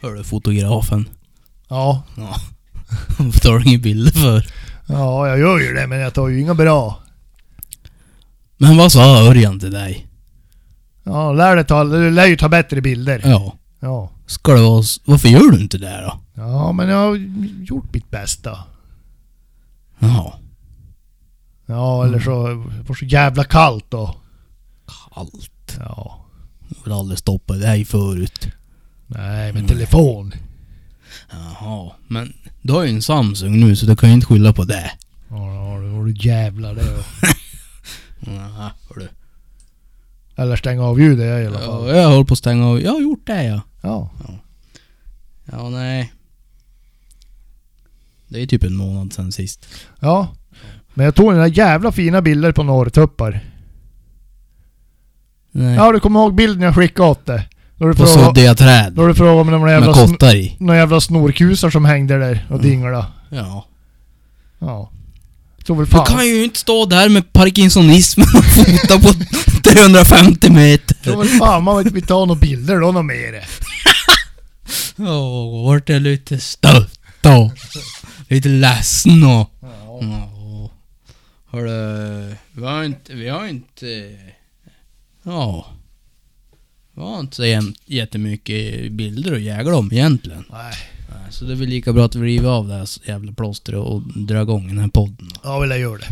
Hör du fotografen? Ja. Ja. Varför tar du inga bilder för? ja, jag gör ju det men jag tar ju inga bra. Men vad sa Örjan till dig? Ja, lär dig ta, du lär ju ta bättre bilder. Ja. Ja. Ska det vara... s- Varför gör du inte det då? Ja, men jag har gjort mitt bästa. Jaha. Ja, eller så det var så jävla kallt då. Kallt. Ja. Jag vill aldrig stoppa dig förut. Nej, Mm. men telefon. Jaha. Men du har ju en Samsung nu så du kan ju inte skylla på det. Ja, ja, det var du jävlar det. Jaha, hör du. Eller stänga av ljudet i alla fall. Ja, jag håller på att stänga av. Jag har gjort det ja. Ja. Ja, nej. Det är typ en månad sedan sist. Ja. Men jag tog några jävla fina bilder på norrtuppar. Mm. Nej. Ja, du kommer ihåg bilden jag skickade åt dig? Då du på frågade, suddiga träd. då du frågade om några jävla, Med sn- kottar i. några jävla snorkusar som hängde där och Mm. dinglade. Ja. Ja. Jag tror väl Du fan... kan ju inte stå där med parkinsonismen och fota på 350 meter. Jag tror väl fan man vill inte ta några bilder då något mer. Åh, vart jag lite stött då. Lite ledsen då. Ja. Ja. Hörru, vi har inte... Vi har inte... Ja. Vi har inte så jäm- jättemycket bilder att jägla om egentligen. Nej. Nej, Så det är väl lika bra att vi river av det här jävla plåstret och drar igång den här podden. Ja, vill jag göra det.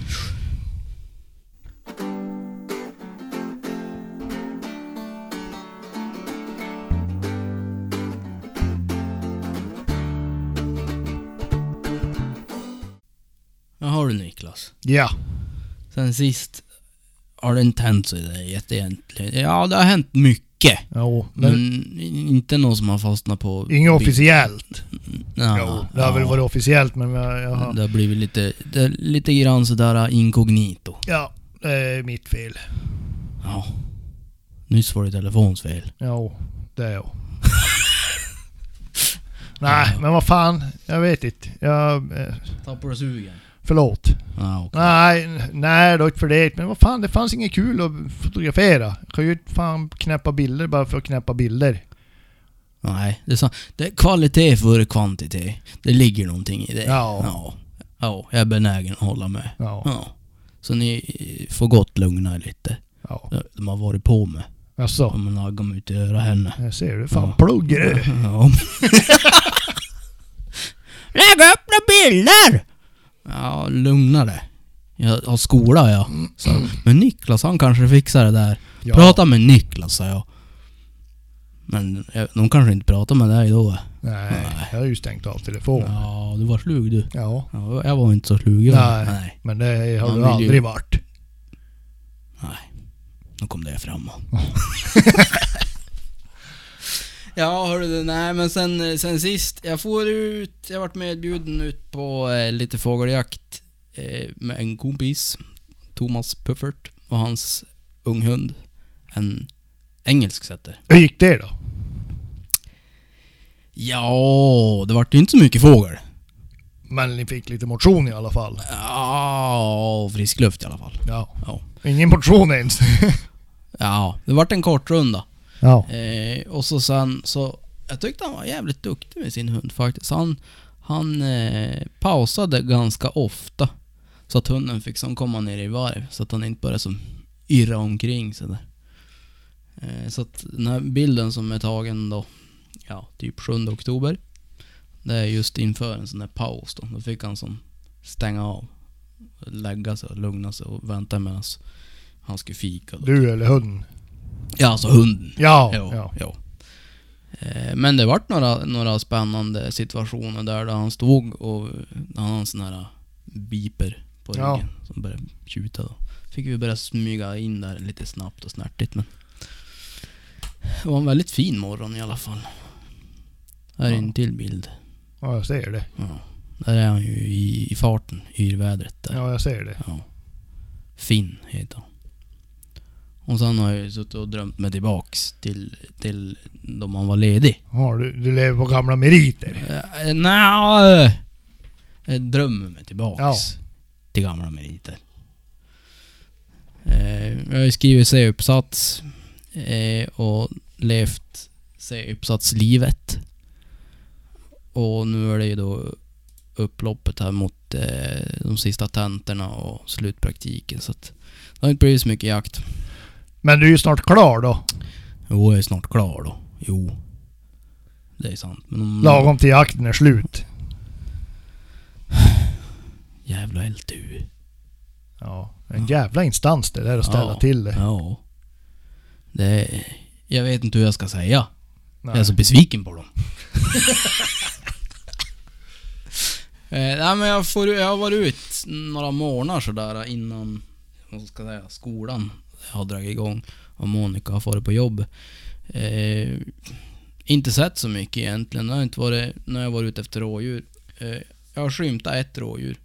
Jaha du Niklas. Ja. Sen sist har det inte hänt så jätte egentligen. Ja, det har hänt mycket. Jo. Men, Men i- inte någon som har fastnat på... inget officiellt. Ja, Mm. Jo, det har väl ja. varit officiellt men jag, jag har... Det har blivit lite, det är lite grann sådär inkognito. Ja, det är mitt fel. Ja. Nyss var det telefonsfel. Jo, det är jag. Nej, men vad fan. Jag vet inte. Jag... eh, Tappar du sugen? Förlåt. Ja, okej. Nej, nej det var inte för det. Men vad fan, det fanns inget kul att fotografera. Jag kan ju inte fan knäppa bilder bara för att knäppa bilder. Nej, det är sant. Det är kvalitet före kvantitet. Det ligger någonting i det. Ja. Ja, ja jag är benägen att hålla med. Ja. Ja. Så ni får gott lugna er lite. ja. De har varit på med. Jaså? Om man naggar mig ut i öra henne. Jag ser du. Fan, pluggar du? Ja. Lägg upp några bilder! Ja, lugna dig. Jag har skola ja. Så, men Niklas han kanske fixar det där. Ja. Prata med Niklas sa jag. Men eh, de kanske inte pratar med dig då. Nej, jag har ju stängt av telefonen. Ja, du var slug du. Ja. Ja, jag var inte så slug. jag. Nej. Nej. Men det har Man du vill ju- aldrig varit. Nej. Nu kom det fram. ja, hörru Nej, men sen, sen sist. Jag får ut... Jag vart medbjuden ut på eh, lite fågeljakt eh, med en kompis. Thomas Puffert och hans unghund. En engelsk setter. Hur gick det då? Ja, det vart ju inte så mycket fågel. Men ni fick lite motion i alla fall. Ja, frisk luft i alla fall. Ja. Ja. Ingen motion ens. Ja, det vart en kort runda. ja. Eh, och så sen så, jag tyckte han var jävligt duktig med sin hund faktiskt. Han, han eh, pausade ganska ofta. Så att hunden fick som komma ner i varv. Så att han inte började som irra omkring sådär. Eh, så att den här bilden som är tagen då, ja, typ 7 oktober. Det är just inför en sån där paus då. Då fick han som stänga av. Lägga sig och lugna sig och vänta medan han skulle fika. Då. Du eller hunden? Ja, alltså hunden. Ja. Jo, ja. jo. Eh, Men det vart några, några spännande situationer där, där han stod och han hade en sån här beeper på ryggen Ja. som började tjuta då. Fick vi börja smyga in där lite snabbt och snärtigt men... Det var en väldigt fin morgon i alla fall. Här är Ja. en till bild. Ja, jag ser det. Ja. Där är han ju i, i farten, yrvädret där. Ja, jag ser det. Ja. Finn heter han. Och sen har jag ju suttit och drömt mig tillbaks till, till då man var ledig. Ja, du, du lever på gamla meriter. Uh, Nej, jag eh, drömmer mig tillbaks Ja. till gamla meriter. Eh, jag har ju skrivit C-uppsats eh, och levt C-uppsatslivet. Och nu är det ju då upploppet här mot eh, de sista tentorna och slutpraktiken så att det har inte blivit så mycket jakt. Men du är ju snart klar då. Mm. Jo, jag är snart klar då. Jo. Det är sant. Men om... Lagom till jakten är slut. Jävla LTU. Ja, en jävla instans det där att ställa Mm. Ja. till det. Ja. Det är... Jag vet inte hur jag ska säga. Nej. Jag är så besviken på dem. eh, nej men jag, får, jag har varit ut några månader sådär innan vad ska jag säga, skolan har dragit igång och Monica har farit på jobb. Eh, inte sett så mycket egentligen. Jag har inte varit, när jag har varit ute efter rådjur. Eh, jag har skymtat ett rådjur.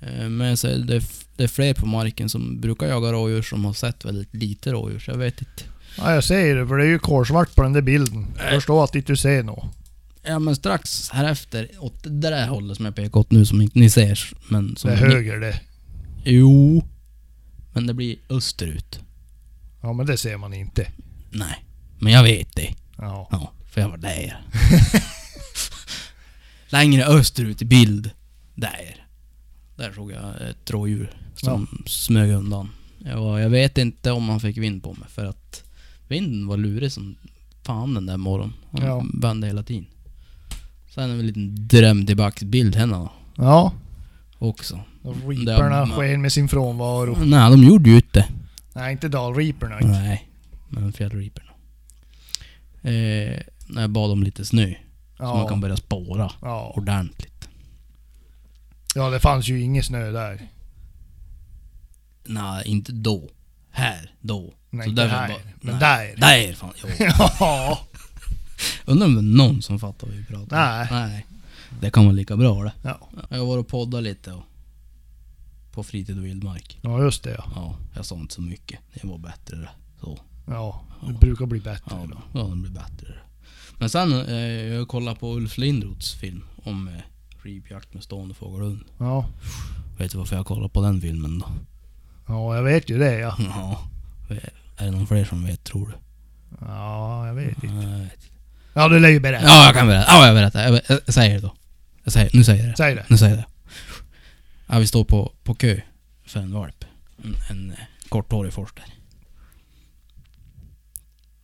Eh, men så är det, det är fler på marken som brukar jaga rådjur som har sett väldigt lite rådjur. Så jag vet inte. Ja, jag säger det för det är ju kolsvart på den där bilden. Jag förstår att inte du ser något. Ja men strax här efter, åt det där hållet som jag pekar åt nu som inte ni ser. Men som Det är höger det. Ni, jo. Men det blir österut. Ja, men det ser man inte. Nej. Men jag vet det. Ja. Ja, för jag var där. Längre österut i bild. Där. Där såg jag ett rådjur som smög undan. Jag, var, jag vet inte om han fick vind på mig för att vinden var lurig som fan den där morgonen. Han Ja. vände hela tiden. Sen en liten dröm tillbaks-bild henne då Ja. också. Reaperna Det- sken med sin frånvaro. Nej, de gjorde ju inte Nej, inte dalreaperna. inte. Nej, men fjällreaperna. Eh, när jag bad om lite snö, så man kan Ja. börja spåra Ja. ordentligt. ja, det fanns ju ingen snö där. Nej, inte då. Här, då. Nej, Så inte därför där. bara- men nej. där. Där fan, jo. ja. Undrar om det är någon som fattar vad vi pratar om. Nej. Nej. Det kan vara lika bra det. ja. Jag har varit och poddat lite och, på fritid och vildmark. Ja, just det ja. Ja, jag sa inte så mycket. Det var bättre det. Så. Ja, det brukar bli bättre. Ja, då. typ. ja den blir bättre. Men sen, eh, jag kollade på Ulf Lindroths film om eh, ripjakt med stående fågelhund. Ja. Vet du varför jag kollade på den filmen då? ja, jag vet ju det ja. Ja. Är det någon fler som vet tror du? Ja, jag vet inte. Nej. Ja, du lär ju berätta. Ja, jag kan berätta. Ja, jag berättar. Jag, jag, jag säger det då. Jag säger, nu säger jag det. Säg det. Nu säger jag det. Ja, vi står på, på kö för en valp. En, en eh, korthårig forster.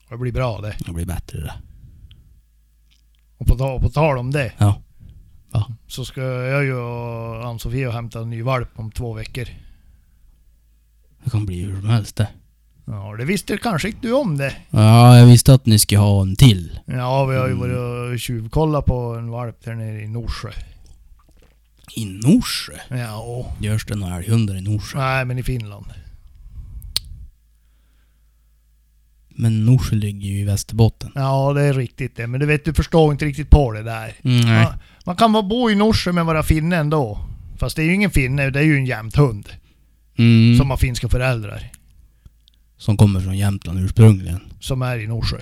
Det blir bra det. Det blir bättre det. Och på, ta- på tal om det. Ja. Så ska jag ju och Ann-Sofie och hämta en ny valp om två veckor. Det kan bli hur som helst det. Ja, det visste kanske inte du om det. Ja, jag visste att ni skulle ha en till. Ja, vi har ju Mm. varit och tjuvkollat på en valp där nere i Norsjö. I Norsjö? Ja, och, Görs det några älghundar i Norsjö? nej men i Finland. Men Norsjö ligger ju i Västerbotten. Ja, det är riktigt det. Men du vet, du förstår inte riktigt på det där. Nej. Man, man kan vara bo i Norsjö men vara finne ändå. Fast det är ju ingen finne, det är ju en jämthund. Mm. Som Som, har finska föräldrar. kommer från Jämtland ursprungligen. Som är i Norsjö.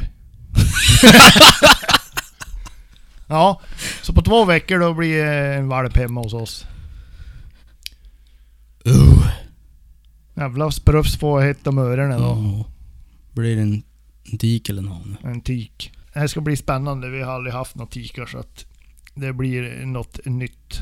ja, så på två veckor då blir det en valp hemma hos oss. Uh. Jävla sprufs får hett om öronen då. Ja. Blir det en, en tik eller en hane? En tik. Det här ska bli spännande. Vi har aldrig haft några tikar så att det blir något nytt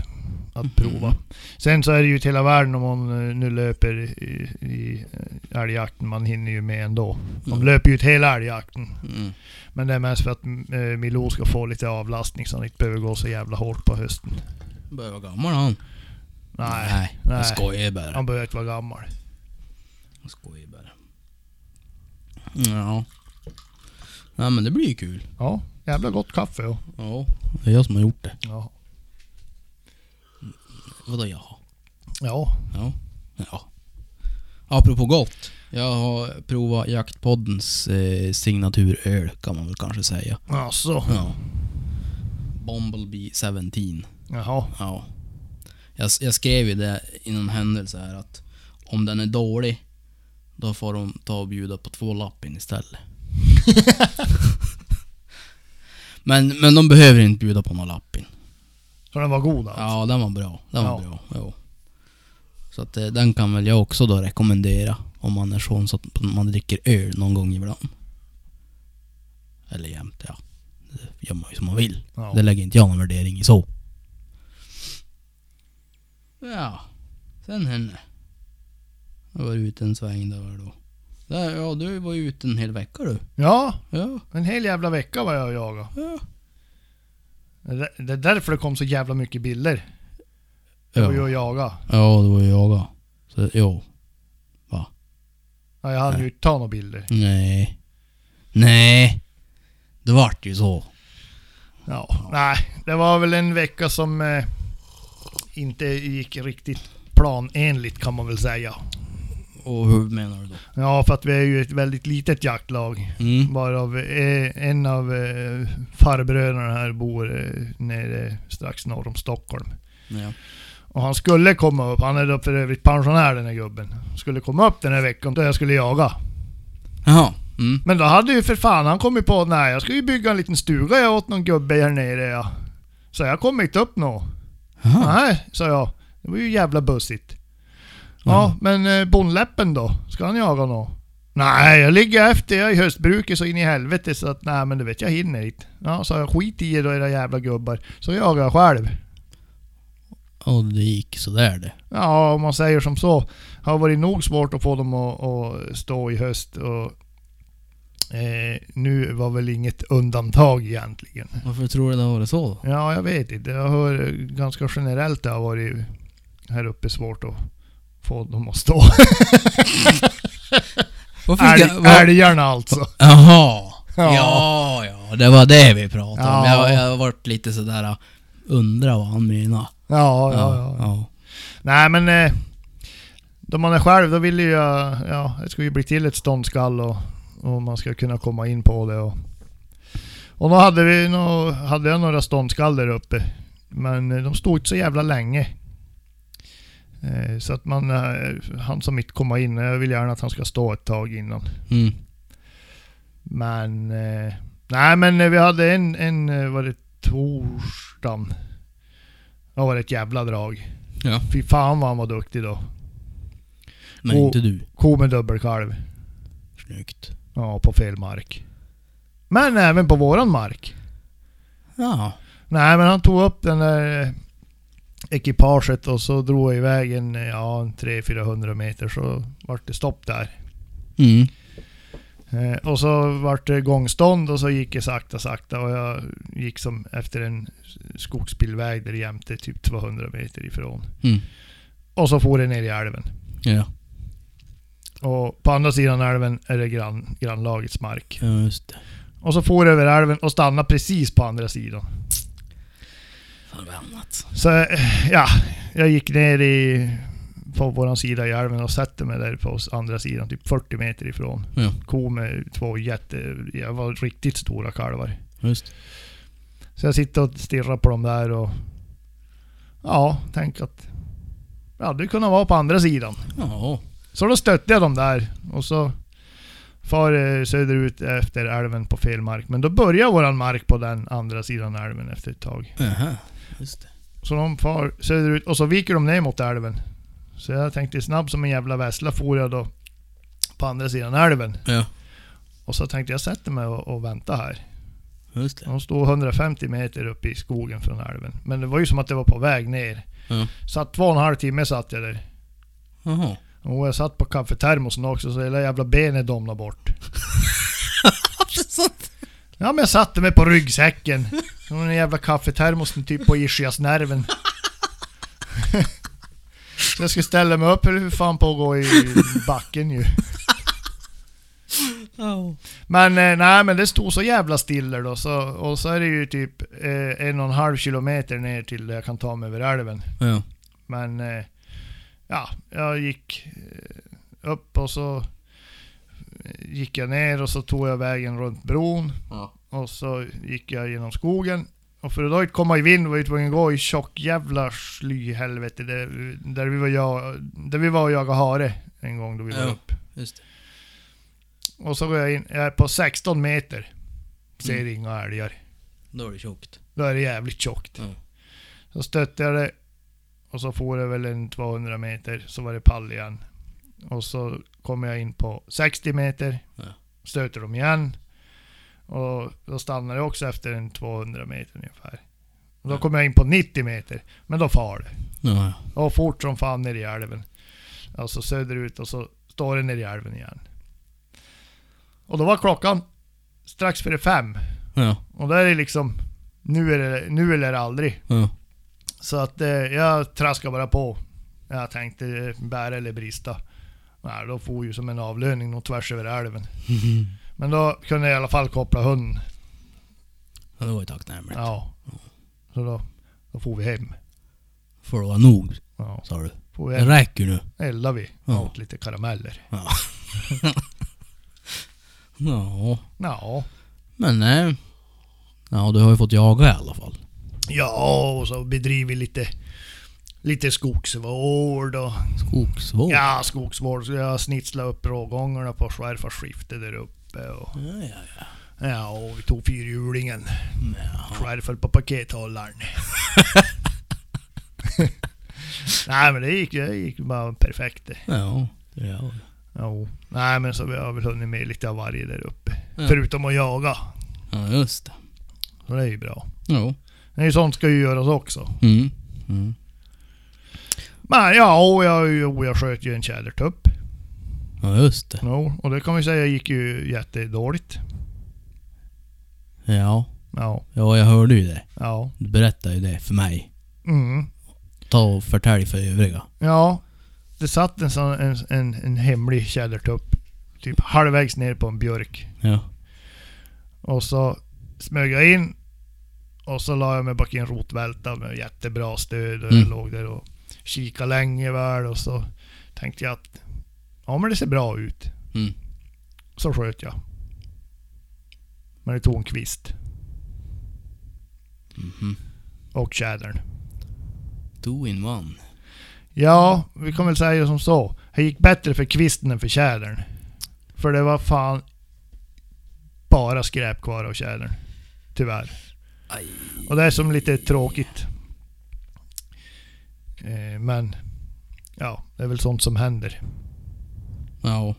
att prova. Mm. Sen så är det ju till hela världen om man eh, nu löper i, i eh, älgjakten. Man hinner ju med ändå. De Mm. löper ju ut hela älgjakten. Mm. Men det är mest för att eh, Milou ska få lite avlastning så han inte behöver gå så jävla hårt på hösten. Börjar vara gammal han. Nej, Nej. nej. Jag skojar bara. han behöver inte vara gammal. Jag skojar bara. Ja. Nej men det blir ju kul. Ja, jävla gott kaffe. Ja. Ja. Det är jag som har gjort det. Ja. Vadå jag? ja, Ja. ja. Apropå gott. Jag har provat Jaktpoddens eh, signaturöl kan man väl kanske säga. alltså. Ja. Bumblebee 17. Jaha. Ja. Jag, jag skrev ju det i någon händelse här att om den är dålig, då får de ta och bjuda på två lappin istället. men, men de behöver inte bjuda på någon lappin. Så den var god alltså. Ja, den var bra. Den var Ja. bra. Jo. Så att, eh, den kan väl jag också då rekommendera om man är sån så att man dricker öl någon gång ibland. Eller jämt ja. Det- gör man ju som man vill. Ja. Det lägger inte jag någon värdering i så. Ja, sen henne. Jag var ute en sväng där då. Där, ja, du var ju ute en hel vecka du. ja, Ja, en hel jävla vecka var jag och jagade. ja. Det- Det är därför det kom så jävla mycket bilder. Jag var ju Ja, och jagade. ja det var ju jag då. Så, jo. Ja, jag hann ju inte ta några bilder. Nej. Nej. Det vart ju så. Ja. Nej, det var väl en vecka som eh, inte gick riktigt planenligt kan man väl säga. Och hur menar du då? Ja, för att vi är ju ett väldigt litet jaktlag. Mm. Varav eh, en av eh, farbröderna här bor eh, nere strax norr om Stockholm. Ja. Och han skulle komma upp, han är då för övrigt pensionär den här gubben. Skulle komma upp den här veckan då jag skulle jaga. Jaha. Mm. Men då hade ju för fan han kommit på att nej jag ska ju bygga en liten stuga jag åt någon gubbe här nere ja. Så jag kom inte upp nå. Jaha. Nej, sa jag. Det var ju jävla bussigt. Ja, men eh, bonnläppen då? Ska han jaga nå? Nej, jag ligger efter. Jag är i höstbruket så in i helvete så att nej men du vet jag hinner inte. Ja, sa jag. Skit i er då era jävla gubbar. Så jagar jag själv. Och det gick sådär det. Ja, om man säger som så. Har varit nog svårt att få dem att, att stå i höst och eh, nu var väl inget undantag egentligen. Varför tror du det har varit så då? Ja, jag vet inte. Jag hör ganska generellt det har varit här uppe svårt att få dem att stå. Varför ska- Älg, var- älgarna alltså. Jaha. Ja. Ja. ja, det var det vi pratade om. Ja. Jag, jag har varit lite sådär, äh, undra vad han menar. Ja, ja, ja. ja. Nej men... Eh, då man är själv då vill ju jag... Ja, det ska ju bli till ett ståndskall och, och man ska kunna komma in på det och... Och då hade, vi, nå hade jag några ståndskall där uppe. Men eh, de stod inte så jävla länge. Eh, så att man... Eh, han som mitt komma in, jag vill gärna att han ska stå ett tag innan. Mm. Men... Eh, nej men eh, vi hade en, en eh, var det torsdagen? Då var det ett jävla drag. Ja. Fy fan vad han var duktig då. Men Och- inte du. Ko med dubbelkalv. Snyggt. Ja, på fel mark. Men även på våran mark. Ja. Nej, men han tog upp den där eh, ekipaget och så drog jag iväg en, eh, ja, en 300-400 meter så vart det stopp där. Mm. Eh, och så vart det gångstånd och så gick jag sakta, sakta och jag gick som efter en skogsbilväg där jämte typ 200 meter ifrån. Mm. Och så for det ner i älven. Ja. Och på andra sidan älven är det grann, grannlagets mark. ja, just det. Och så for det över älven och stannade precis på andra sidan. Förbannat. Så eh, ja, jag gick ner i, på våran sida i älven och satte mig där på s- andra sidan, typ 40 meter ifrån. Ja, Ko med två jätte, jag var riktigt stora kalvar. just Så jag sitter och stirrar på dem där och... Ja, tänk att... Jag hade kunnat vara på andra sidan. Ja. Så då stötte jag dem där och så... Far eh, söderut efter älven på fel mark. Men då börjar våran mark på den andra sidan älven efter ett tag. Aha. Just det. Så de far söderut och så viker de ner mot älven. Så jag tänkte snabb som en jävla vessla for jag då på andra sidan älven. Ja. Och så tänkte jag sätter mig och, och väntar här. Just det. De stod 150 meter uppe i skogen från älven. Men det var ju som att det var på väg ner. Ja. Satt två och en halv timme satt jag där. Jaha. Och jag satt på kaffetermosen också så hela jävla benet domnade bort. Ja men jag satte mig på ryggsäcken. Som den jävla kaffetermosen typ på ischiasnerven. Så jag skulle ställa mig upp eller hur fan på att gå i backen ju. Ja. Men eh, nej men det stod så jävla stilla då så, och så är det ju typ eh, en och en halv kilometer ner till där jag kan ta mig över älven. Ja. Men eh, ja, jag gick eh, upp och så gick jag ner och så tog jag vägen runt bron Ja. och så gick jag genom skogen. Och för att då inte komma i vind var jag tvungen att gå i tjock jävla slyhelvete där, där, vi var jag, där vi var och jagade hare en gång då vi var Ja. upp. Just det. Och så går jag in, jag är på 16 meter. Ser inga älgar. Då är det tjockt. Då är det jävligt tjockt. Ja. Så stötte jag det och så får det väl en 200 meter, så var det pall igen. Och så kommer jag in på 60 meter, Ja. stöter dem igen. Och då stannade jag också efter en 200 meter ungefär. Och då kom jag in på 90 meter, men då far det. Ja, Och fort som fan ner i älven. Alltså söderut och så står det ner i älven igen. Och då var klockan strax före fem. ja, Och där är det liksom, nu, är det, nu eller aldrig. ja. Så att eh, jag traskade bara på. Jag tänkte eh, bära eller brista. Nej, då for ju som en avlöning nog tvärs över älven. Men då kunde jag i alla fall koppla hunden. ja det var ju tacknämligt. Ja. Så då, då for vi hem. Får det vara nog, Ja. sa du. For vi Det hem. räcker nu. Eldade vi. Ja. Åt lite karameller. Ja. ja. Ja. Men nej. Ja, du har ju fått jaga i alla fall. Ja, och så bedrivit lite, lite skogsvård och... Skogsvård. Ja, skogsvård. Så jag snitslade upp rågångarna på svärfars skifte där uppe och... Ja, ja, ja. Ja, och vi tog fyrhjulingen. Ja. Svärfar på pakethållaren. Nej men det gick, det gick bara perfekt det. Ja, det är jag. Jo. Nej men så vi har väl hunnit med lite av varje där uppe. Ja. Förutom att jaga. Ja, just det. Så det är ju bra. Jo. Det är ju sånt ska ju göras också. Mm. Mm. Men ja, och jag, jo, jag sköt ju en tjädertupp. Ja, just det. Jo, och det kan vi säga gick ju jättedåligt. Ja. Ja, ja, jag hörde ju det. ja. Du berättade ju det för mig. Mm. Ta och förtälj för övriga. Ja, det satt en, sån, en, en, en hemlig tjädertupp. Typ halvvägs ner på en björk. Ja. Och så smög jag in. Och så la jag mig bak i en rotvälta med jättebra stöd. Och jag Mm. låg där och kikade länge väl. Och så tänkte jag att ja men det ser bra ut. Mm. Så sköt jag. Men det tog en kvist. Mhm. Och tjädern. Two in one. Ja, vi kan väl säga som så. Det gick bättre för kvisten än för tjädern. För det var fan bara skräp kvar av tjädern. Tyvärr. Aj. Och det är som lite tråkigt. Eh, men ja, det är väl sånt som händer. Ja.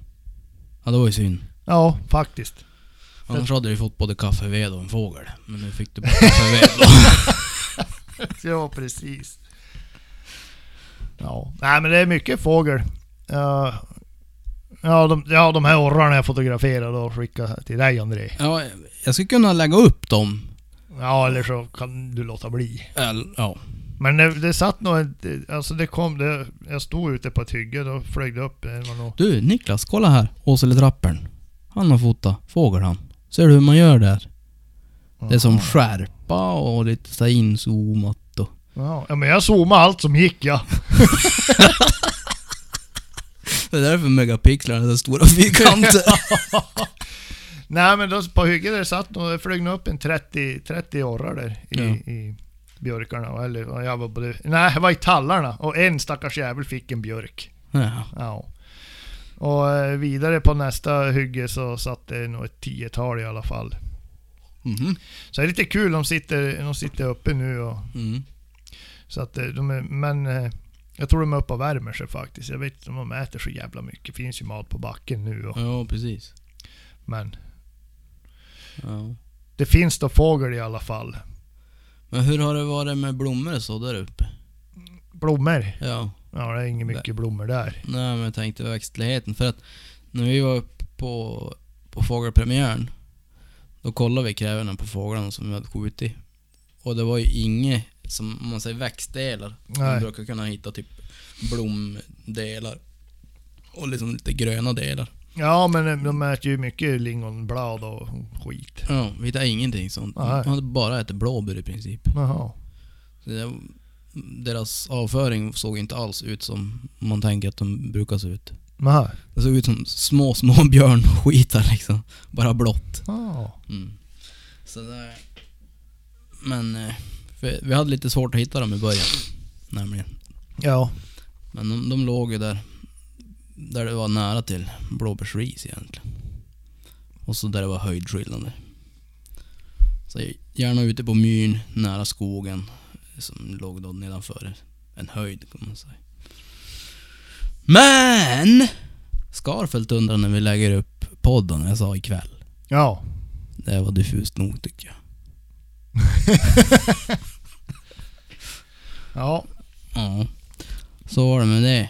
Ja, det var ju synd. Ja, faktiskt. Annars hade du ju fått både kaffeved och en fågel. Men nu fick du bara kaffeved då. Ja, precis. Ja, nej men det är mycket fågel. Ja, ja, de, ja, de här orrarna jag fotograferade och skickade till dig André. Ja, jag skulle kunna lägga upp dem. Ja, eller så kan du låta bli. Eller, ja. Men det, det satt nog en, det- Alltså det kom... Det, jag stod ute på ett hygge, då flög det upp. Det var nog... Du, Niklas, kolla här. Åseletrappern. Han har fotat fågel han. Ser du hur man gör där? Det är som skärpa och lite så här inzoomat och... Ja, ja, men jag zoomade allt som gick ja. Det är därför megapixlarna är så stora fyrkanter. Nej men då, på hygget där satt nog... Det flög nog upp en 30, 30 orrar där i, Ja. i björkarna. och- Eller och jag var både... Nej, jag var i tallarna. Och en stackars jävel fick en björk. Ja. Ja. Och eh, vidare på nästa hygge så satt det nog ett tiotal i alla fall. Mhm. Så det är lite kul, de sitter, de sitter uppe nu och Mm. Så att eh, de är, men eh, jag tror de är uppe och värmer sig faktiskt. Jag vet inte om de äter så jävla mycket. Finns ju mat på backen nu och, Ja, precis. Men Ja. det finns då fågel i alla fall. Men hur har det varit med blommor och så där uppe? Blommor? Ja. Ja, det är inget mycket blommor där. Nej, men jag tänkte växtligheten. För att när vi var uppe på, på fågelpremiären, då kollade vi krävorna på fåglarna som vi hade skjutit. Och det var ju inget, som om man säger växtdelar. Man Nej. brukar kunna hitta typ blomdelar. Och liksom lite gröna delar. Ja, men eh, de äter ju mycket lingonblad och skit. Ja, vi hittade ingenting sånt. Nej. Man hade bara ätit blåbär i princip. Jaha. Så det, deras avföring såg inte alls ut som man tänker att de brukar se ut. Jaha. Det såg ut som små, små björnskitar liksom. Bara blått. Ja. Mm. Så det... Men... eh, För vi hade lite svårt att hitta dem i början. Nämligen. Ja. Men de, de låg ju där. Där det var nära till blåbärsris egentligen. Och så där det var höjdskillnader. Så gärna ute på myren, nära skogen. Som låg då nedanför en höjd kan man säga. Men! Skarfält undrar när vi lägger upp podden, jag sa ikväll. Ja. Det här var diffust nog tycker jag. Ja, Ja. Så var det med det.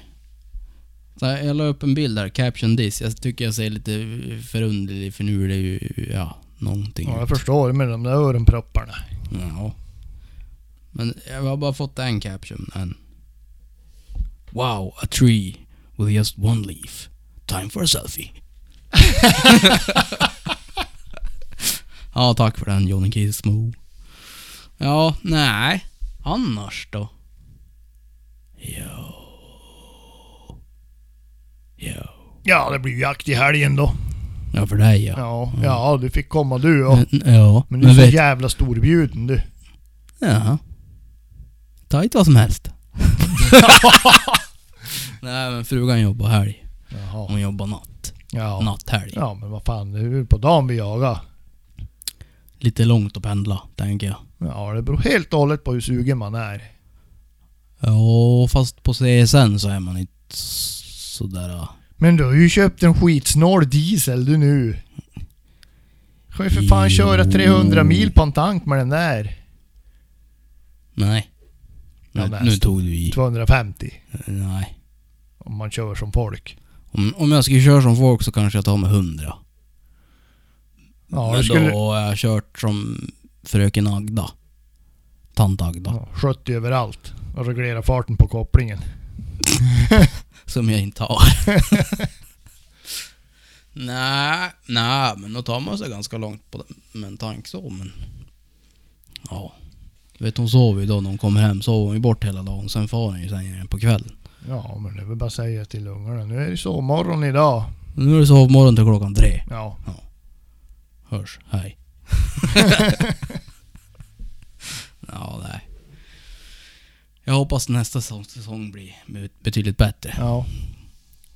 Så här, jag la upp en bild där, caption this. Jag tycker jag ser lite förunderlig för nu är det ju, ja, någonting. ja jag förstår med de där öronpropparna. Ja. Men jag har bara fått en caption än. Wow, a tree with just one leaf. Time for a selfie. ja, tack för den Johnny Gizmo. Ja, nej. Annars då? Jo. Jo. Ja, det blir ju jakt i helgen då. Ja, för dig ja. Ja, ja du fick komma du ja. Men, ja. Men du är så jävla storbjuden du. Ja. Ta inte vad som helst. Nej men frugan jobbar helg. Jaha. Hon jobbar natt. Ja. Natthelg. ja, men vad fan, det är ju på dagen vi jagar. Lite långt att pendla, tänker jag. Ja, det beror helt och hållet på hur sugen man är. Ja, fast på CSN så är man inte s- sådär... ja. Men du har ju köpt en skitsnål diesel du nu. Ska ju för fan Jo. köra 300 mil på en tank med den där. Nej. Nu, Ja, men- nu tog du i. 250. Nej. Om man kör som folk. Om, om jag skulle köra som folk så kanske jag tar med 100. Ja, men det skulle... då har jag kört som fröken Agda. Tant Agda. Ja, 70 överallt. Och reglera farten på kopplingen. Som jag inte har. nej, nej, men då tar man sig ganska långt på den- med en tank så, men... Ja. Du vet hon sover ju då när hon kommer hem, sover hon ju bort hela dagen, sen far hon ju sen igen på kvällen. Ja, men det är väl bara att säga till ungarna. Nu är det sovmorgon idag. Nu är det sovmorgon till klockan tre. Ja. Hörs, hej. ja, nej. Jag hoppas nästa säsong- säsong blir bet- betydligt bättre. Ja.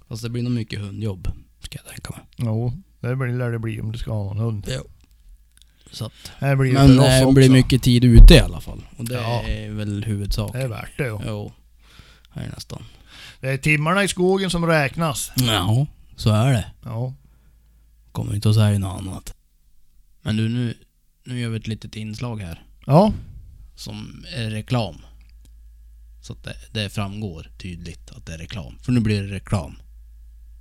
Fast det blir nog mycket hundjobb, ska jag tänka mig. Jo, det blir- lär det bli om du ska ha någon hund. Så att... Det blir ju Men för oss det också. blir mycket tid ute i alla fall. Och det Ja. är väl Det huvudsaken. är värt det. ja. Jo. Det är nästan. Det är timmarna i skogen som räknas. Ja, så är det. Ja. Kommer inte att säga något annat. Men du, nu, nu gör vi ett litet inslag här. Ja. Som är reklam. Så att det, det framgår tydligt att det är reklam. För nu blir det reklam.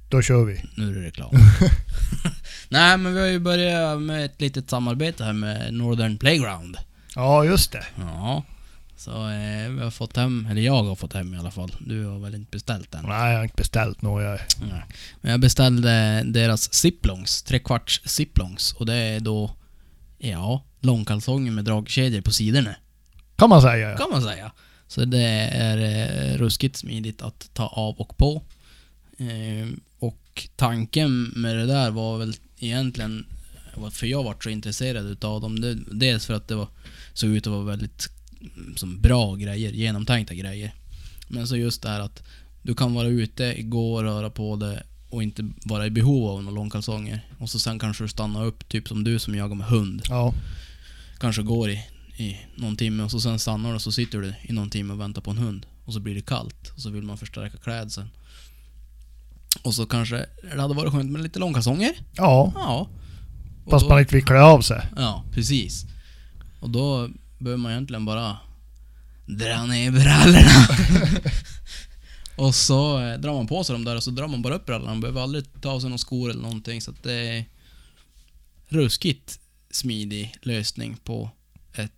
Då kör vi. Nu är det reklam. Nej men vi har ju börjat med ett litet samarbete här med Northern Playground. Ja, just det. Ja. Så eh, vi har fått hem, eller jag har fått hem i alla fall. Du har väl inte beställt än? Nej, jag har inte beställt något. Jag... Nej. Men jag beställde deras ziplongs, trekvarts ziplongs. Och det är då, ja, långkalsonger med dragkedjor på sidorna. Kan man säga. ja. Kan man säga. Så det är eh, ruskigt smidigt att ta av och på. Eh, och tanken med det där var väl egentligen varför jag vart så intresserad utav dem. Det, dels för att det var, såg ut att vara väldigt mm, som bra grejer, genomtänkta grejer. Men så just det här att du kan vara ute, gå och röra på det och inte vara i behov av några långkalsonger. Och så sen kanske du stannar upp, typ som du som jagar med hund Ja. kanske går i, i någon timme och så sen stannar du och så sitter du i någon timme och väntar på en hund. Och så blir det kallt och så vill man förstärka klädseln. Och så kanske det hade varit skönt med lite långkalsonger. Ja. Ja. Och Fast då, man inte vill klä av sig. Ja, precis. Och då behöver man egentligen bara dra ner brallorna. och så eh, drar man på sig dem där och så drar man bara upp brallorna. Man behöver aldrig ta av sig några skor eller någonting. Så att det är ruskigt smidig lösning på ett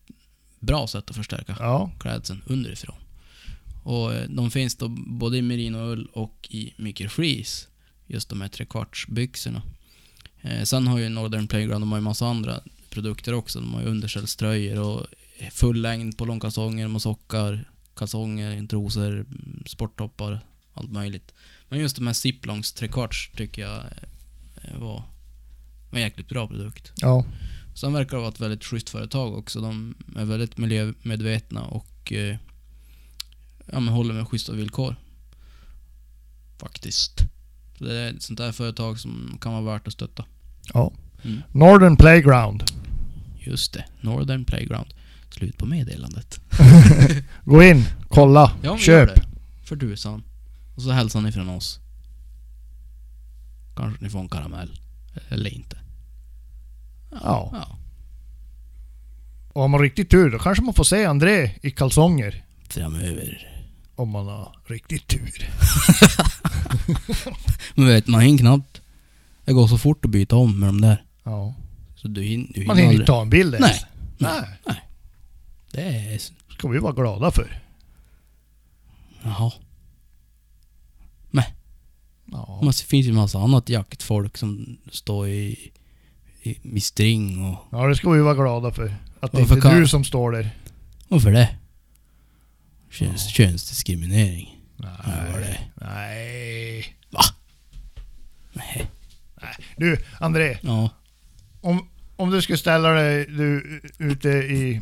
bra sätt att förstärka Ja. klädseln underifrån. Och eh, de finns då både i merinoull och i microfreeze. Just de här trekvartsbyxorna. Eh, sen har ju Northern Playground, de har ju massa andra produkter också. De har ju underställströjor och full längd på långkalsonger, mosockar, kalsonger, trosor, mm, sporttoppar, allt möjligt. Men just de här ziplongs trekvarts tycker jag eh, var var en jäkligt bra produkt. Ja. Sen verkar det vara ett väldigt schysst företag också. De är väldigt miljömedvetna och eh, ja, men håller med schyssta villkor. Faktiskt. Så det är ett sånt där företag som kan vara värt att stötta. Ja. Mm. Northern Playground. Just det, Northern Playground. Slut på meddelandet. Gå in, kolla, Ja, men köp. gör det. För tusan. Och så hälsar ni från oss. Kanske ni får en karamell. Eller inte. Ja. Ja. Och har man riktigt tur då kanske man får se André i kalsonger. Framöver. Om man har riktigt tur. Men vet man hinner knappt. Det går så fort att byta om med de där. Ja. Så du hinner, du Man hinner inte aldrig. ta en bild ens. Nej. Nej. Det är... ska vi vara glada för. Jaha. Ja. Men det finns ju massa annat jaktfolk som står i, i, i string och... ja, det ska vi vara glada för. Att det Varför inte är kan- du som står där. Varför det? Köns, Könsdiskriminering. Ja, vad är Nej. det? Nej. Nej. Du, André. Ja. Om, om du skulle ställa dig du, ute i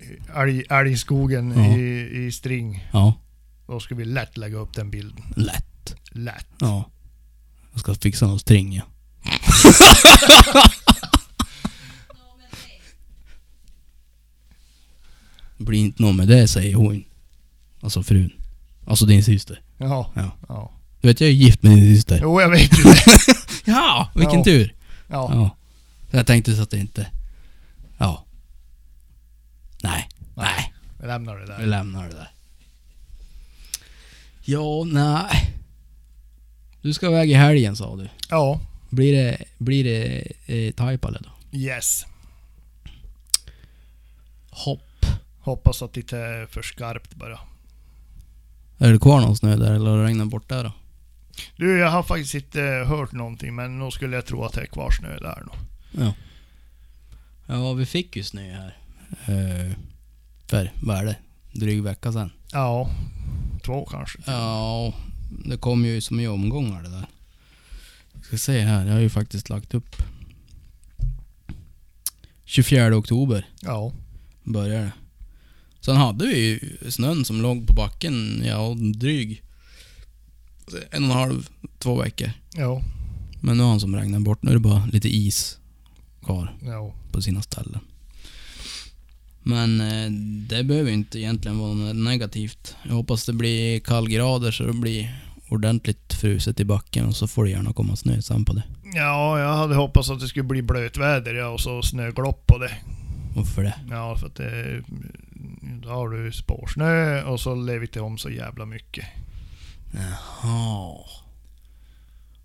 i älg, älgskogen Ja. i, i string. Ja. Då skulle vi lätt lägga upp den bilden. Lätt. Lätt. Ja. Jag ska fixa någon string ja. Det blir inte något med det säger hon. Alltså frun. Alltså din syster. Ja. Ja. ja. Du vet jag är gift med din syster. Jo, jag vet ju det. Ja, vilken Ja. tur. Ja. Ja. Så jag tänkte så att det inte... Ja. Nej. Nej. Vi lämnar det Vi där. lämnar det där. Ja, nej. Du ska iväg i helgen sa du. Ja. Blir det, blir det eh, Taipale då? Yes. Hopp. Hoppas att det inte är för skarpt bara. Är det kvar någon snö där eller har det regnat bort där då? Du, jag har faktiskt inte hört någonting men nog skulle jag tro att det är kvar snö där nog. Ja. Ja, vi fick ju snö här. Eh, för, vad är det? Dryg vecka sedan. Ja. Två kanske. Ja, det kom ju som i omgångar det där. Jag ska se här, jag har ju faktiskt lagt upp. 24 oktober Ja. började det. Sen hade vi ju snön som låg på backen, ja, dryg en och en halv, två veckor. Ja. Men nu har han som regnat bort, nu är det bara lite is kvar Ja. på sina ställen. Men eh, det behöver ju inte egentligen vara något negativt. Jag hoppas det blir kallgrader så det blir ordentligt fruset i backen och så får det gärna komma snö sen på det. Ja, jag hade hoppats att det skulle bli blötväder ja, och så snöglopp på det. Varför det? Ja, för att det... Då har du spårsnö och så lever det om så jävla mycket. Jaha.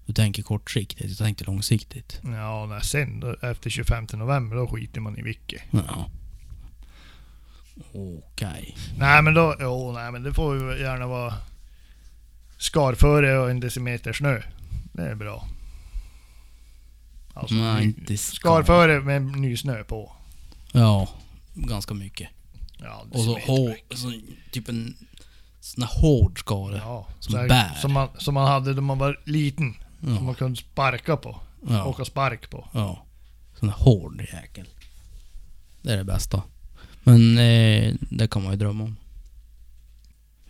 Du tänker kortsiktigt, du tänker långsiktigt. Ja, när sen då, efter 25 november då skiter man i vilket. Ja. Okej. Nej men då, jo nej men det får ju gärna vara skarföre och en decimeter snö. Det är bra. Alltså, Nej, ny- inte skar. skarföre med ny snö på. Ja, ganska mycket. Ja, Och så decimeter. hår, så, typ en sån här hård skare. Ja, som så här- bär. Som man, som man hade då man var liten. Som Ja. man kunde sparka på. ja. Åka spark på. Ja. Sån här hård jäkel. Det är det bästa. Men eh, det kan man ju drömma om.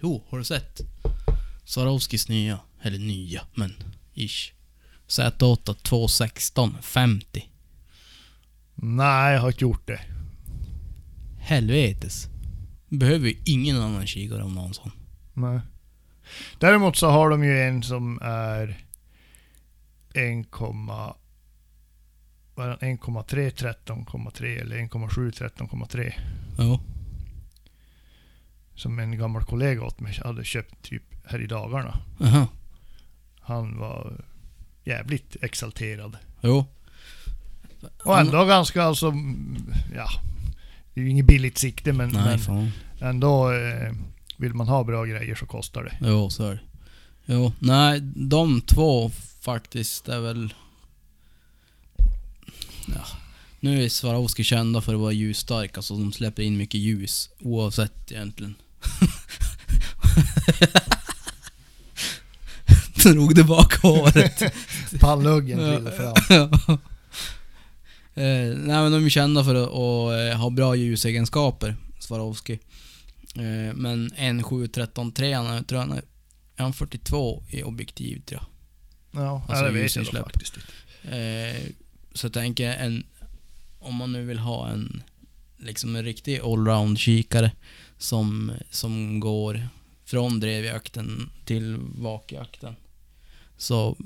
Jo, har du sett? Swarovskis nya, eller nya, men ish. Z8 216 50. Nej, jag har inte gjort det. Helvetes. Behöver ju ingen annan kikare om någon sån. Nej. Däremot så har de ju en som är 1, vad är den? 1,3 13,3 eller 1,7 13,3 Ja. som en gammal kollega åt mig hade köpt typ här i dagarna. Aha. Han var jävligt exalterad. Jo. Och ändå ganska alltså, mm, ja. Det är ju inget billigt sikte men, Nej men fan. ändå eh, vill man ha bra grejer så kostar det. Jo, så är det. Jo, nej, de två faktiskt är väl... Ja. Nu är Swarovski kända för att vara ljusstarka, så de släpper in mycket ljus oavsett egentligen. Drog tillbaka håret. Pannluggen trillade fram. Eh, nej men de är kända för att och, eh, ha bra ljusegenskaper, Swarovski. Eh, men en 713-3, han är- tror jag han är, är han 42 i objektiv tror jag. Ja, Alltså det vet jag då ljusinsläpp. faktiskt inte. Eh, så jag tänker en, om man nu vill ha en, liksom en riktig allround-kikare som, som går från drevjakten till vakjakten. Så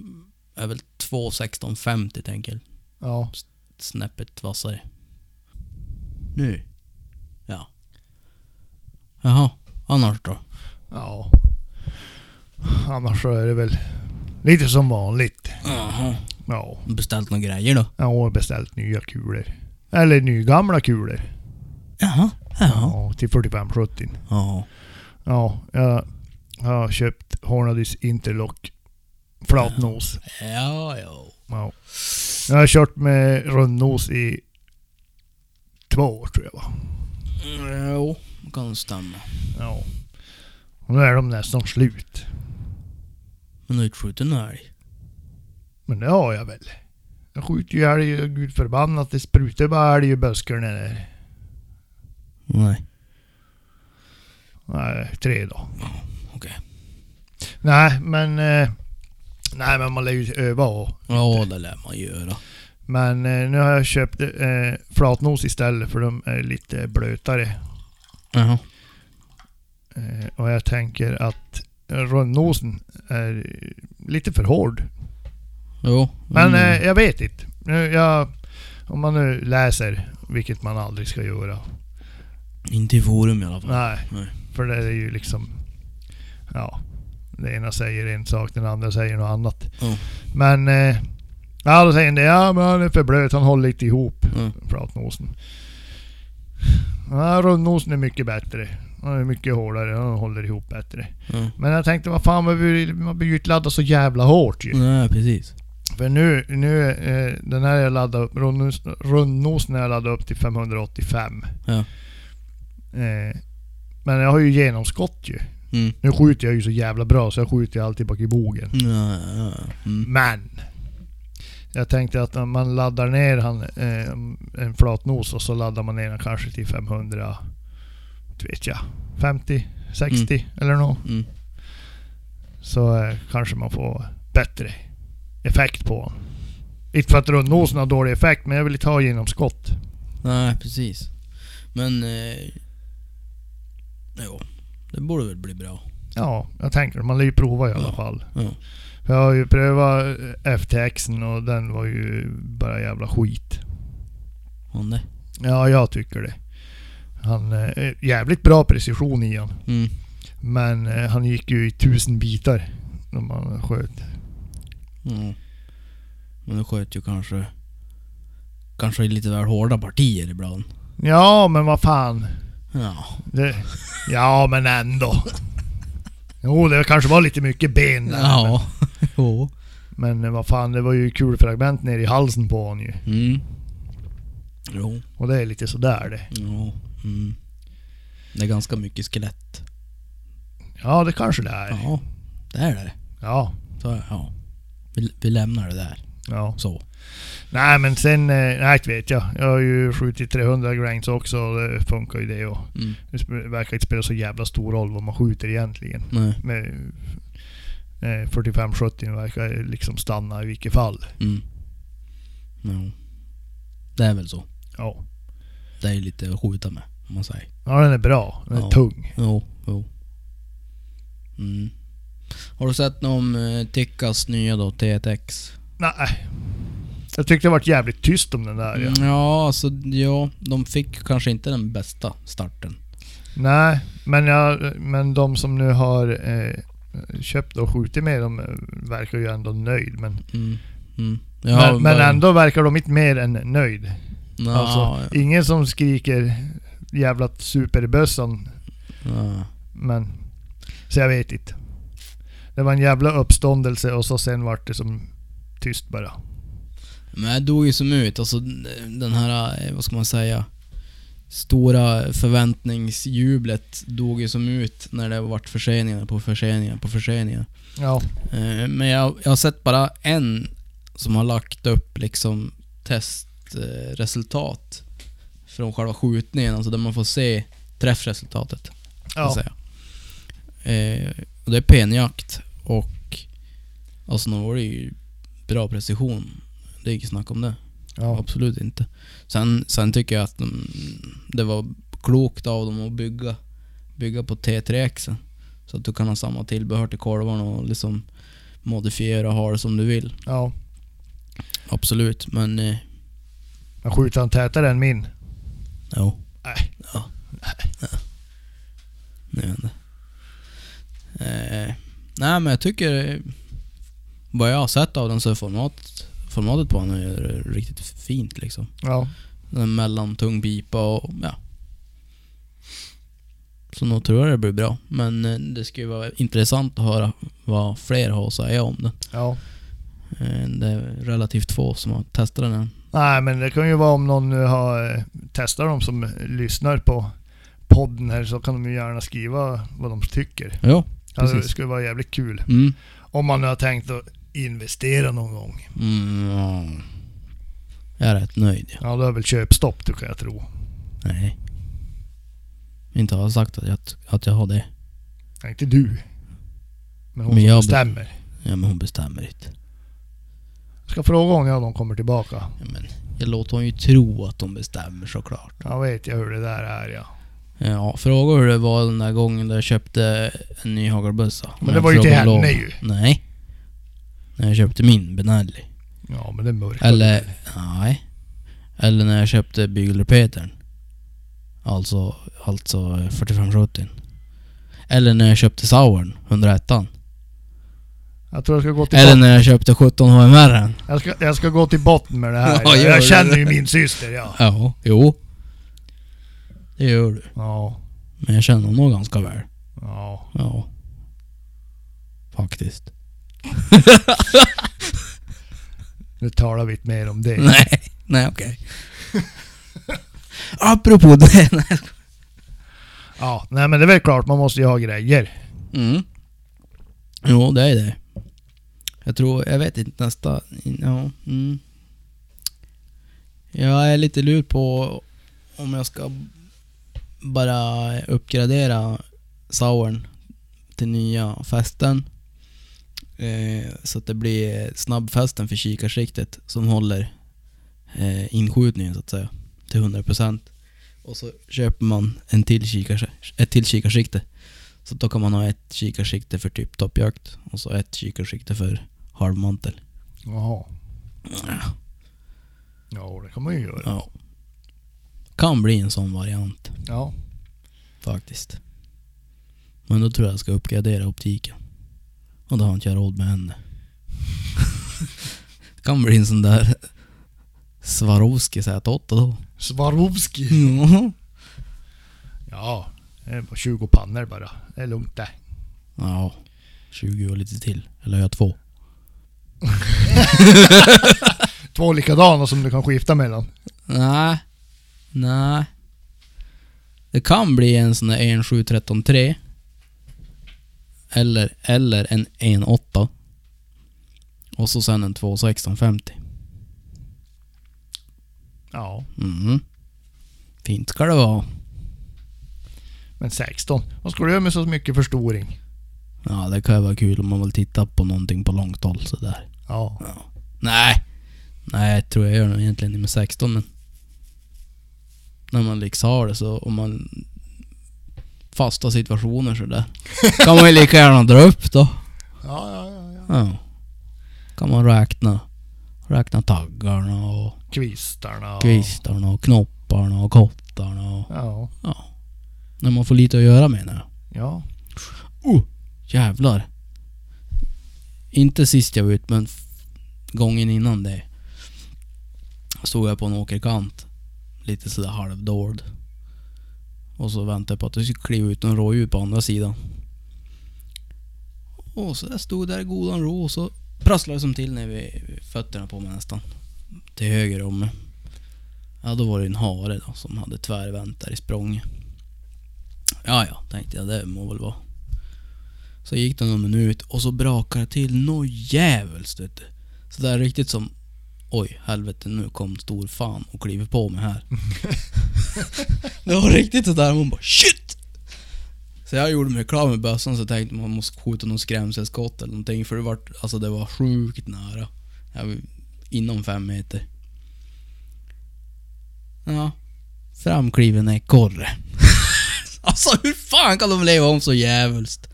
är väl 2.16.50 tänker jag. Ja. snäppet vassare. Nu. Ja. Jaha, annars då? Ja. Annars så är det väl lite som vanligt. Jaha. Ja. Beställt några grejer då? Jag har beställt nya kulor. Eller nygamla kulor. Jaha. Jaha. Ja, till 4570. Ja. Ja, jag har köpt Hornadys Interlock flatnos. Ja, ja. Ja. Jag har kört med rundnos i två år tror jag va? Jo, kan stämma. Ja. Och nu är de nästan slut. Men du har inte skjutit någon älg? Men det har jag väl. Jag skjuter ju älg och gud förbannat det sprutar bara älg i buskarna där. Nej. Nej, tre då. Okej. Nej men... eh, Nej men man lär ju öva och Ja, det lär man göra. Men eh, nu har jag köpt eh, flatnos istället för de är lite blötare. Jaha. Eh, och jag tänker att rundnosen är eh, lite för hård. Jo. Men mm. eh, jag vet inte. Nu, jag, om man nu läser, vilket man aldrig ska göra. Inte i forum i alla fall. Nej, Nej. för det är ju liksom... Ja. Det ena säger en sak, den andra säger något annat. Ja. Men... Eh, ja, då säger en det. Ja, men han är för blöt. Han håller inte ihop. Mm. flatnosen. Ja, rundnosen är mycket bättre. Den är mycket hårdare, den håller ihop bättre. Ja. Men jag tänkte, vad fan, man blir man blir ju inte laddad så jävla hårt ju. Nej, precis. För nu, nu eh, den här jag laddade upp, rundnos, rundnosen har jag laddat upp till 585. Ja. Eh, men jag har ju genomskott ju. Mm. Nu skjuter jag ju så jävla bra så jag skjuter ju alltid bak i bogen. Ja, ja, ja. Mm. Men! Jag tänkte att om man laddar ner han, eh, en flatnos och så laddar man ner den kanske till 500... inte vet jag. 50, 60 eller något. Mm. Så eh, kanske man får bättre effekt på den. Inte för att rundnosen har dålig effekt men jag vill inte ha genomskott. Nej, precis. Men... Eh, jo, det borde väl bli bra. Ja, jag tänker man lär ju prova i alla Ja. fall. Ja. Jag har ju prövat eh, FTXen och den var ju bara jävla skit. Om det. Ja, jag tycker det. Han... Eh, jävligt bra precision i han. Mm. Men eh, han gick ju i tusen bitar när man sköt. Ja. Men du sköt ju kanske... Kanske i lite väl hårda partier ibland. Ja, men vad fan. Ja. Det, ja, men ändå. Jo, det kanske var lite mycket ben där, Ja. jo. men, men eh, vad fan, det var ju kulfragment ner i halsen på honom ju. Mm. Jo. Och det är lite sådär det. Jo. Mm. Det är ganska mycket skelett. Ja, det kanske det är. Ja. Det är det. Ja. Så, ja. Vi, vi lämnar det där. Ja. Så. Nej men sen, eh, nej inte vet jag. Jag har ju skjutit 300 grains också och det funkar ju det och Mm. Det sp- verkar inte spela så jävla stor roll vad man skjuter egentligen. Nej. Med eh, 45-70 verkar liksom stanna i vilket fall. Mm. Jo. Det är väl så. Ja. Det är ju lite att skjuta med, om man säger. Ja den är bra. Den är Ja. tung. Jo, jo. Mm. Har du sett något om eh, Tickas nya då, TTX? Nej. Jag tyckte det varit jävligt tyst om den där ja. Ja, alltså ja, de fick kanske inte den bästa starten. Nej, men, jag, men de som nu har eh, köpt och skjutit med dem eh, verkar ju ändå nöjd. Men, Mm. Mm. men, men ändå verkar de inte mer än nöjd. Ja, alltså, Ingen som skriker jävla superbössan ja. Men... Så jag vet inte. Det var en jävla uppståndelse och så sen vart det som tyst bara. Men det dog ju som ut, alltså den här, eh, vad ska man säga, stora förväntningsjublet dog ju som ut när det vart förseningar på förseningar på förseningar. Ja. Eh, Men jag, jag har sett bara en som har lagt upp liksom testresultat från själva skjutningen, alltså där man får se träffresultatet. kan jag Ja. säga. Eh, och det är penjakt och alltså nu var det ju bra precision. Det är inget snack om det. ja. Absolut inte. Sen, sen tycker jag att de, det var klokt av dem att bygga, bygga på T3X. Så att du kan ha samma tillbehör till kolvarna och liksom modifiera och ha det som du vill. ja. Absolut, men eh, Han skjuter han tätare än min. Jo. Nej. Ja. Ja. Nu vet jag. Eh, nej, men jag tycker... Vad jag har sett av den så är format, formatet på honom är riktigt fint liksom. Ja. En mellantung pipa och ja. Så nog tror jag det blir bra. Men eh, det skulle vara intressant att höra vad fler har att säga om den. ja. Eh, Det är relativt få som har testat den än. Nej, men det kan ju vara om någon nu har eh, testat dem som lyssnar på podden här så kan de ju gärna skriva vad de tycker. Ja, Alltså, det Precis. skulle vara jävligt kul. mm. Om man nu har tänkt att investera någon gång. Mm, ja. Jag är rätt nöjd. ja. Ja, då är väl köpstopp, det kan jag tro. Nej. Inte har jag sagt att jag, att jag har det. Nej, inte du. Men hon Men som jag- bestämmer. Ja, men hon bestämmer inte. Jag ska fråga hon när de kommer tillbaka. Ja, men jag låter hon ju tro att hon bestämmer såklart. Jag vet jag hur det där är ja. Ja, fråga hur det var den där gången där jag köpte en ny hagelbössa. Men det var ju till henne ju. Nej. När jag köpte min Benelli. Ja men det är mörkt. Eller, nej. Eller när jag köpte bygelrepetern. Alltså, alltså 4570. Eller när jag köpte Sauern, 101 Jag tror jag ska gå till Eller botten. när jag köpte 17 HMR. Jag ska, jag ska gå till botten med det här. Ja, ja. gör jag det. känner ju min syster ja. Ja, jo. Det gör du. Ja. Men jag känner honom ganska väl. Ja. Ja. Faktiskt. Nu talar vi inte mer om det. Nej, nej okej. Apropå det. nej. Ja. Nej men det är väl klart man måste ju ha grejer. Mm. Jo, det är det. Jag tror, jag vet inte nästa... Ja, mm. Jag är lite lur på om jag ska bara uppgradera Sauern till nya fästen. Eh, så att det blir snabbfästen för kikarsiktet som håller eh, inskjutningen så att säga till 100%. Och så köper man en till kikars ett till kikarsikte. Så då kan man ha ett kikarsikte för typ toppjakt och så ett kikarsikte för halvmantel. Jaha. Ja det kan man ju göra. Ja. Kan bli en sån variant Ja. faktiskt. Men då tror jag jag ska uppgradera optiken. Och då har inte jag råd med henne. kan bli en sån där Swarovski Z8 då. Swarovski. Ja. Mm. Ja. Det är bara 20 pannor bara. Det är lugnt det. Ja, 20 och lite till. Eller har jag två? Två likadana som du kan skifta mellan. Nej. Nej. Det kan bli en sån där 17133. Eller, eller en 18. Och så sen en 21650. Ja. Mm. Fint ska det vara. Men 16. Vad ska du göra med så mycket förstoring? Ja, det kan ju vara kul om man vill titta på någonting på långt håll sådär. Ja. Nej. Nej, jag tror jag gör nog egentligen det med 16 men... När man liksom har det så, om man... Fasta situationer sådär. Kan man ju lika gärna dra upp då. Ja, ja, ja. ja. Ja. Kan man räkna. Räkna taggarna och Kvistarna. och- kvistarna och knopparna och kottarna och... Ja. Ja. När man får lite att göra menar jag. Ja. Oh, jävlar. Inte sist jag var ut men f- gången innan det. Stod jag på en åkerkant. Lite sådär halvdold. Och så väntade jag på att det skulle kliva ut en rådjur på andra sidan. Och så jag stod där i godan ro och så prasslade det som till när vi fötterna på mig nästan. Till höger om mig. Ja då var det en hare då som hade tvärvänt där i språng. Ja ja, tänkte jag det må väl vara. Så gick det någon minut och så brakade det till något djävulskt vet du. Så där riktigt som Oj, helvete nu kom stor fan och kliver på mig här. det var riktigt sådär, man bara shit! Så jag gjorde mig klar med bössan så tänkte man måste skjuta någon skrämselskott eller någonting för det var, alltså det var sjukt nära. Jag var inom fem meter. Ja, framkliver en ekorre. alltså hur fan kan de leva om så djävulskt?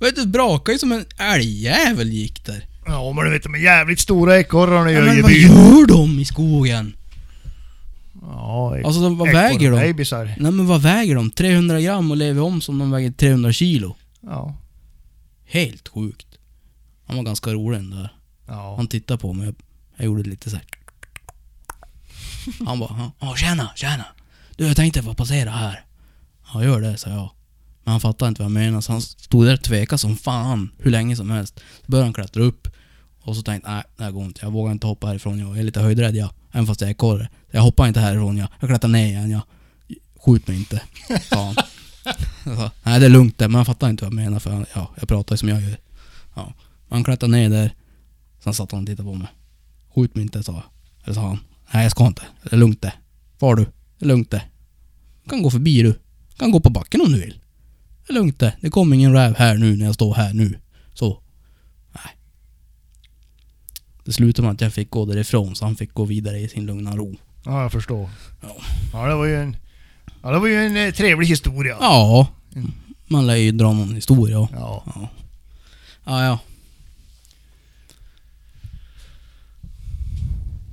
Vet du, brakade ju som en älgjävel gick där. Ja men du vet de är jävligt stora ekorrarna Ja, gör ju men vad byn. gör de i skogen? Ja, ek- Alltså de, vad ekorre- väger de? Babysar. Nej men vad väger de? 300 gram och lever om som de väger 300 kilo. Ja. Helt sjukt. Han var ganska rolig den där. Ja. Han tittade på mig. Jag gjorde lite så här. Han bara, ja tjena, tjena. Du jag tänkte få passera här. Ja gör det, sa jag. Men han fattade inte vad jag menade så han stod där och tvekade som fan hur länge som helst. Så började han klättra upp. Och så tänkte jag, nej det här går inte. Jag vågar inte hoppa härifrån jag. Jag är lite höjdrädd jag. Även fast jag är korre. Jag hoppar inte härifrån jag. Jag klättrar ner igen jag. Skjut mig inte, sa han. Jag sa, nej det är lugnt det. Men han fattade inte vad jag menade för han, ja, jag pratar ju som jag gör. Ja. Han klättrade ner där. Sen satt han och tittade på mig. Skjut mig inte, sa jag. Eller sa han. Nej, jag ska inte. Det är lugnt det. Far du. Det är lugnt det. Du kan gå förbi du. Du kan gå på backen om du vill. Det är lugnt det. Det kommer ingen räv här nu när jag står här nu. Så. Nej. Det slutade med att jag fick gå därifrån så han fick gå vidare i sin lugna ro. ja, jag förstår. Ja. Ja, det var ju en... Ja, det var ju en eh, trevlig historia. Ja. Mm. Man lär ju dra någon historia. Ja. Ja. Ja, ja.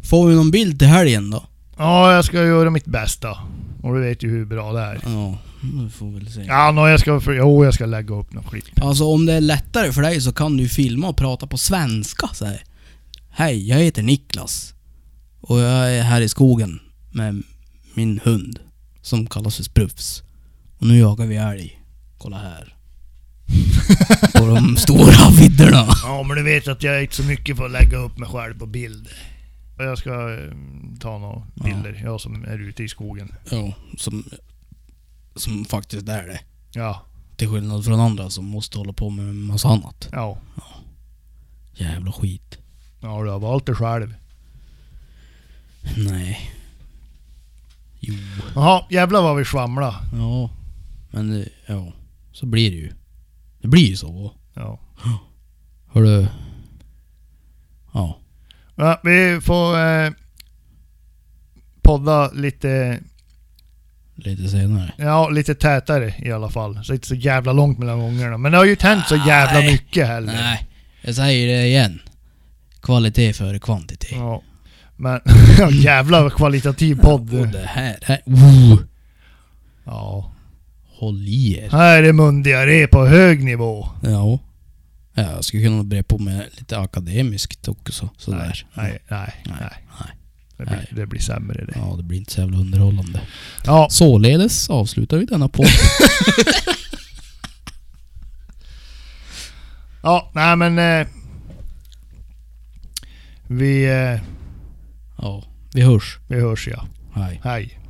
Får vi någon bild till helgen då? Ja, jag ska göra mitt bästa. Och du vet ju hur bra det är. Ja, vi får väl se. Ja, nå, jag ska... för- Jo, jag ska lägga upp något klipp. Alltså om det är lättare för dig så kan du ju filma och prata på svenska så här. Hej, jag heter Niklas. Och jag är här i skogen med min hund som kallas för Sprufs. Och nu jagar vi älg. Kolla här. på de stora vidderna. Ja, men du vet att jag är inte så mycket för att lägga upp mig själv på bild. Jag ska eh, ta några Ja. bilder, jag som är ute i skogen. Ja, som, som faktiskt är det. Ja, Till skillnad från andra som måste hålla på med en massa annat. ja. Jävla skit. Ja, du har valt det själv. Nej. Jo. Jaha, jävlar vad vi svamlar. Ja, men det- ja, så blir det ju. Det blir ju så. Ja. Hörru. Ja. Ja, vi får eh, podda lite, Lite senare. ja, lite tätare i alla fall. Så inte så jävla långt mellan gångerna. Men det har ju inte hänt så jävla Nej. mycket heller. Nej, jag säger det igen. Kvalitet före kvantitet. Ja. Men ja, jävlar vad kvalitativ Och podd. det här, det här oh, Ja. Håll i er. Här är mundiarré på hög nivå. Ja. Ja, Jag skulle kunna bre på med lite akademiskt också. Nej, Sådär. nej, nej. nej. Nej. Det, blir, Nej. det blir sämre det. Ja, det blir inte så jävla underhållande. Ja, Således avslutar vi denna podd. ja nej men... Eh, vi, eh, ja, vi hörs. vi hörs ja. Hej. Hej.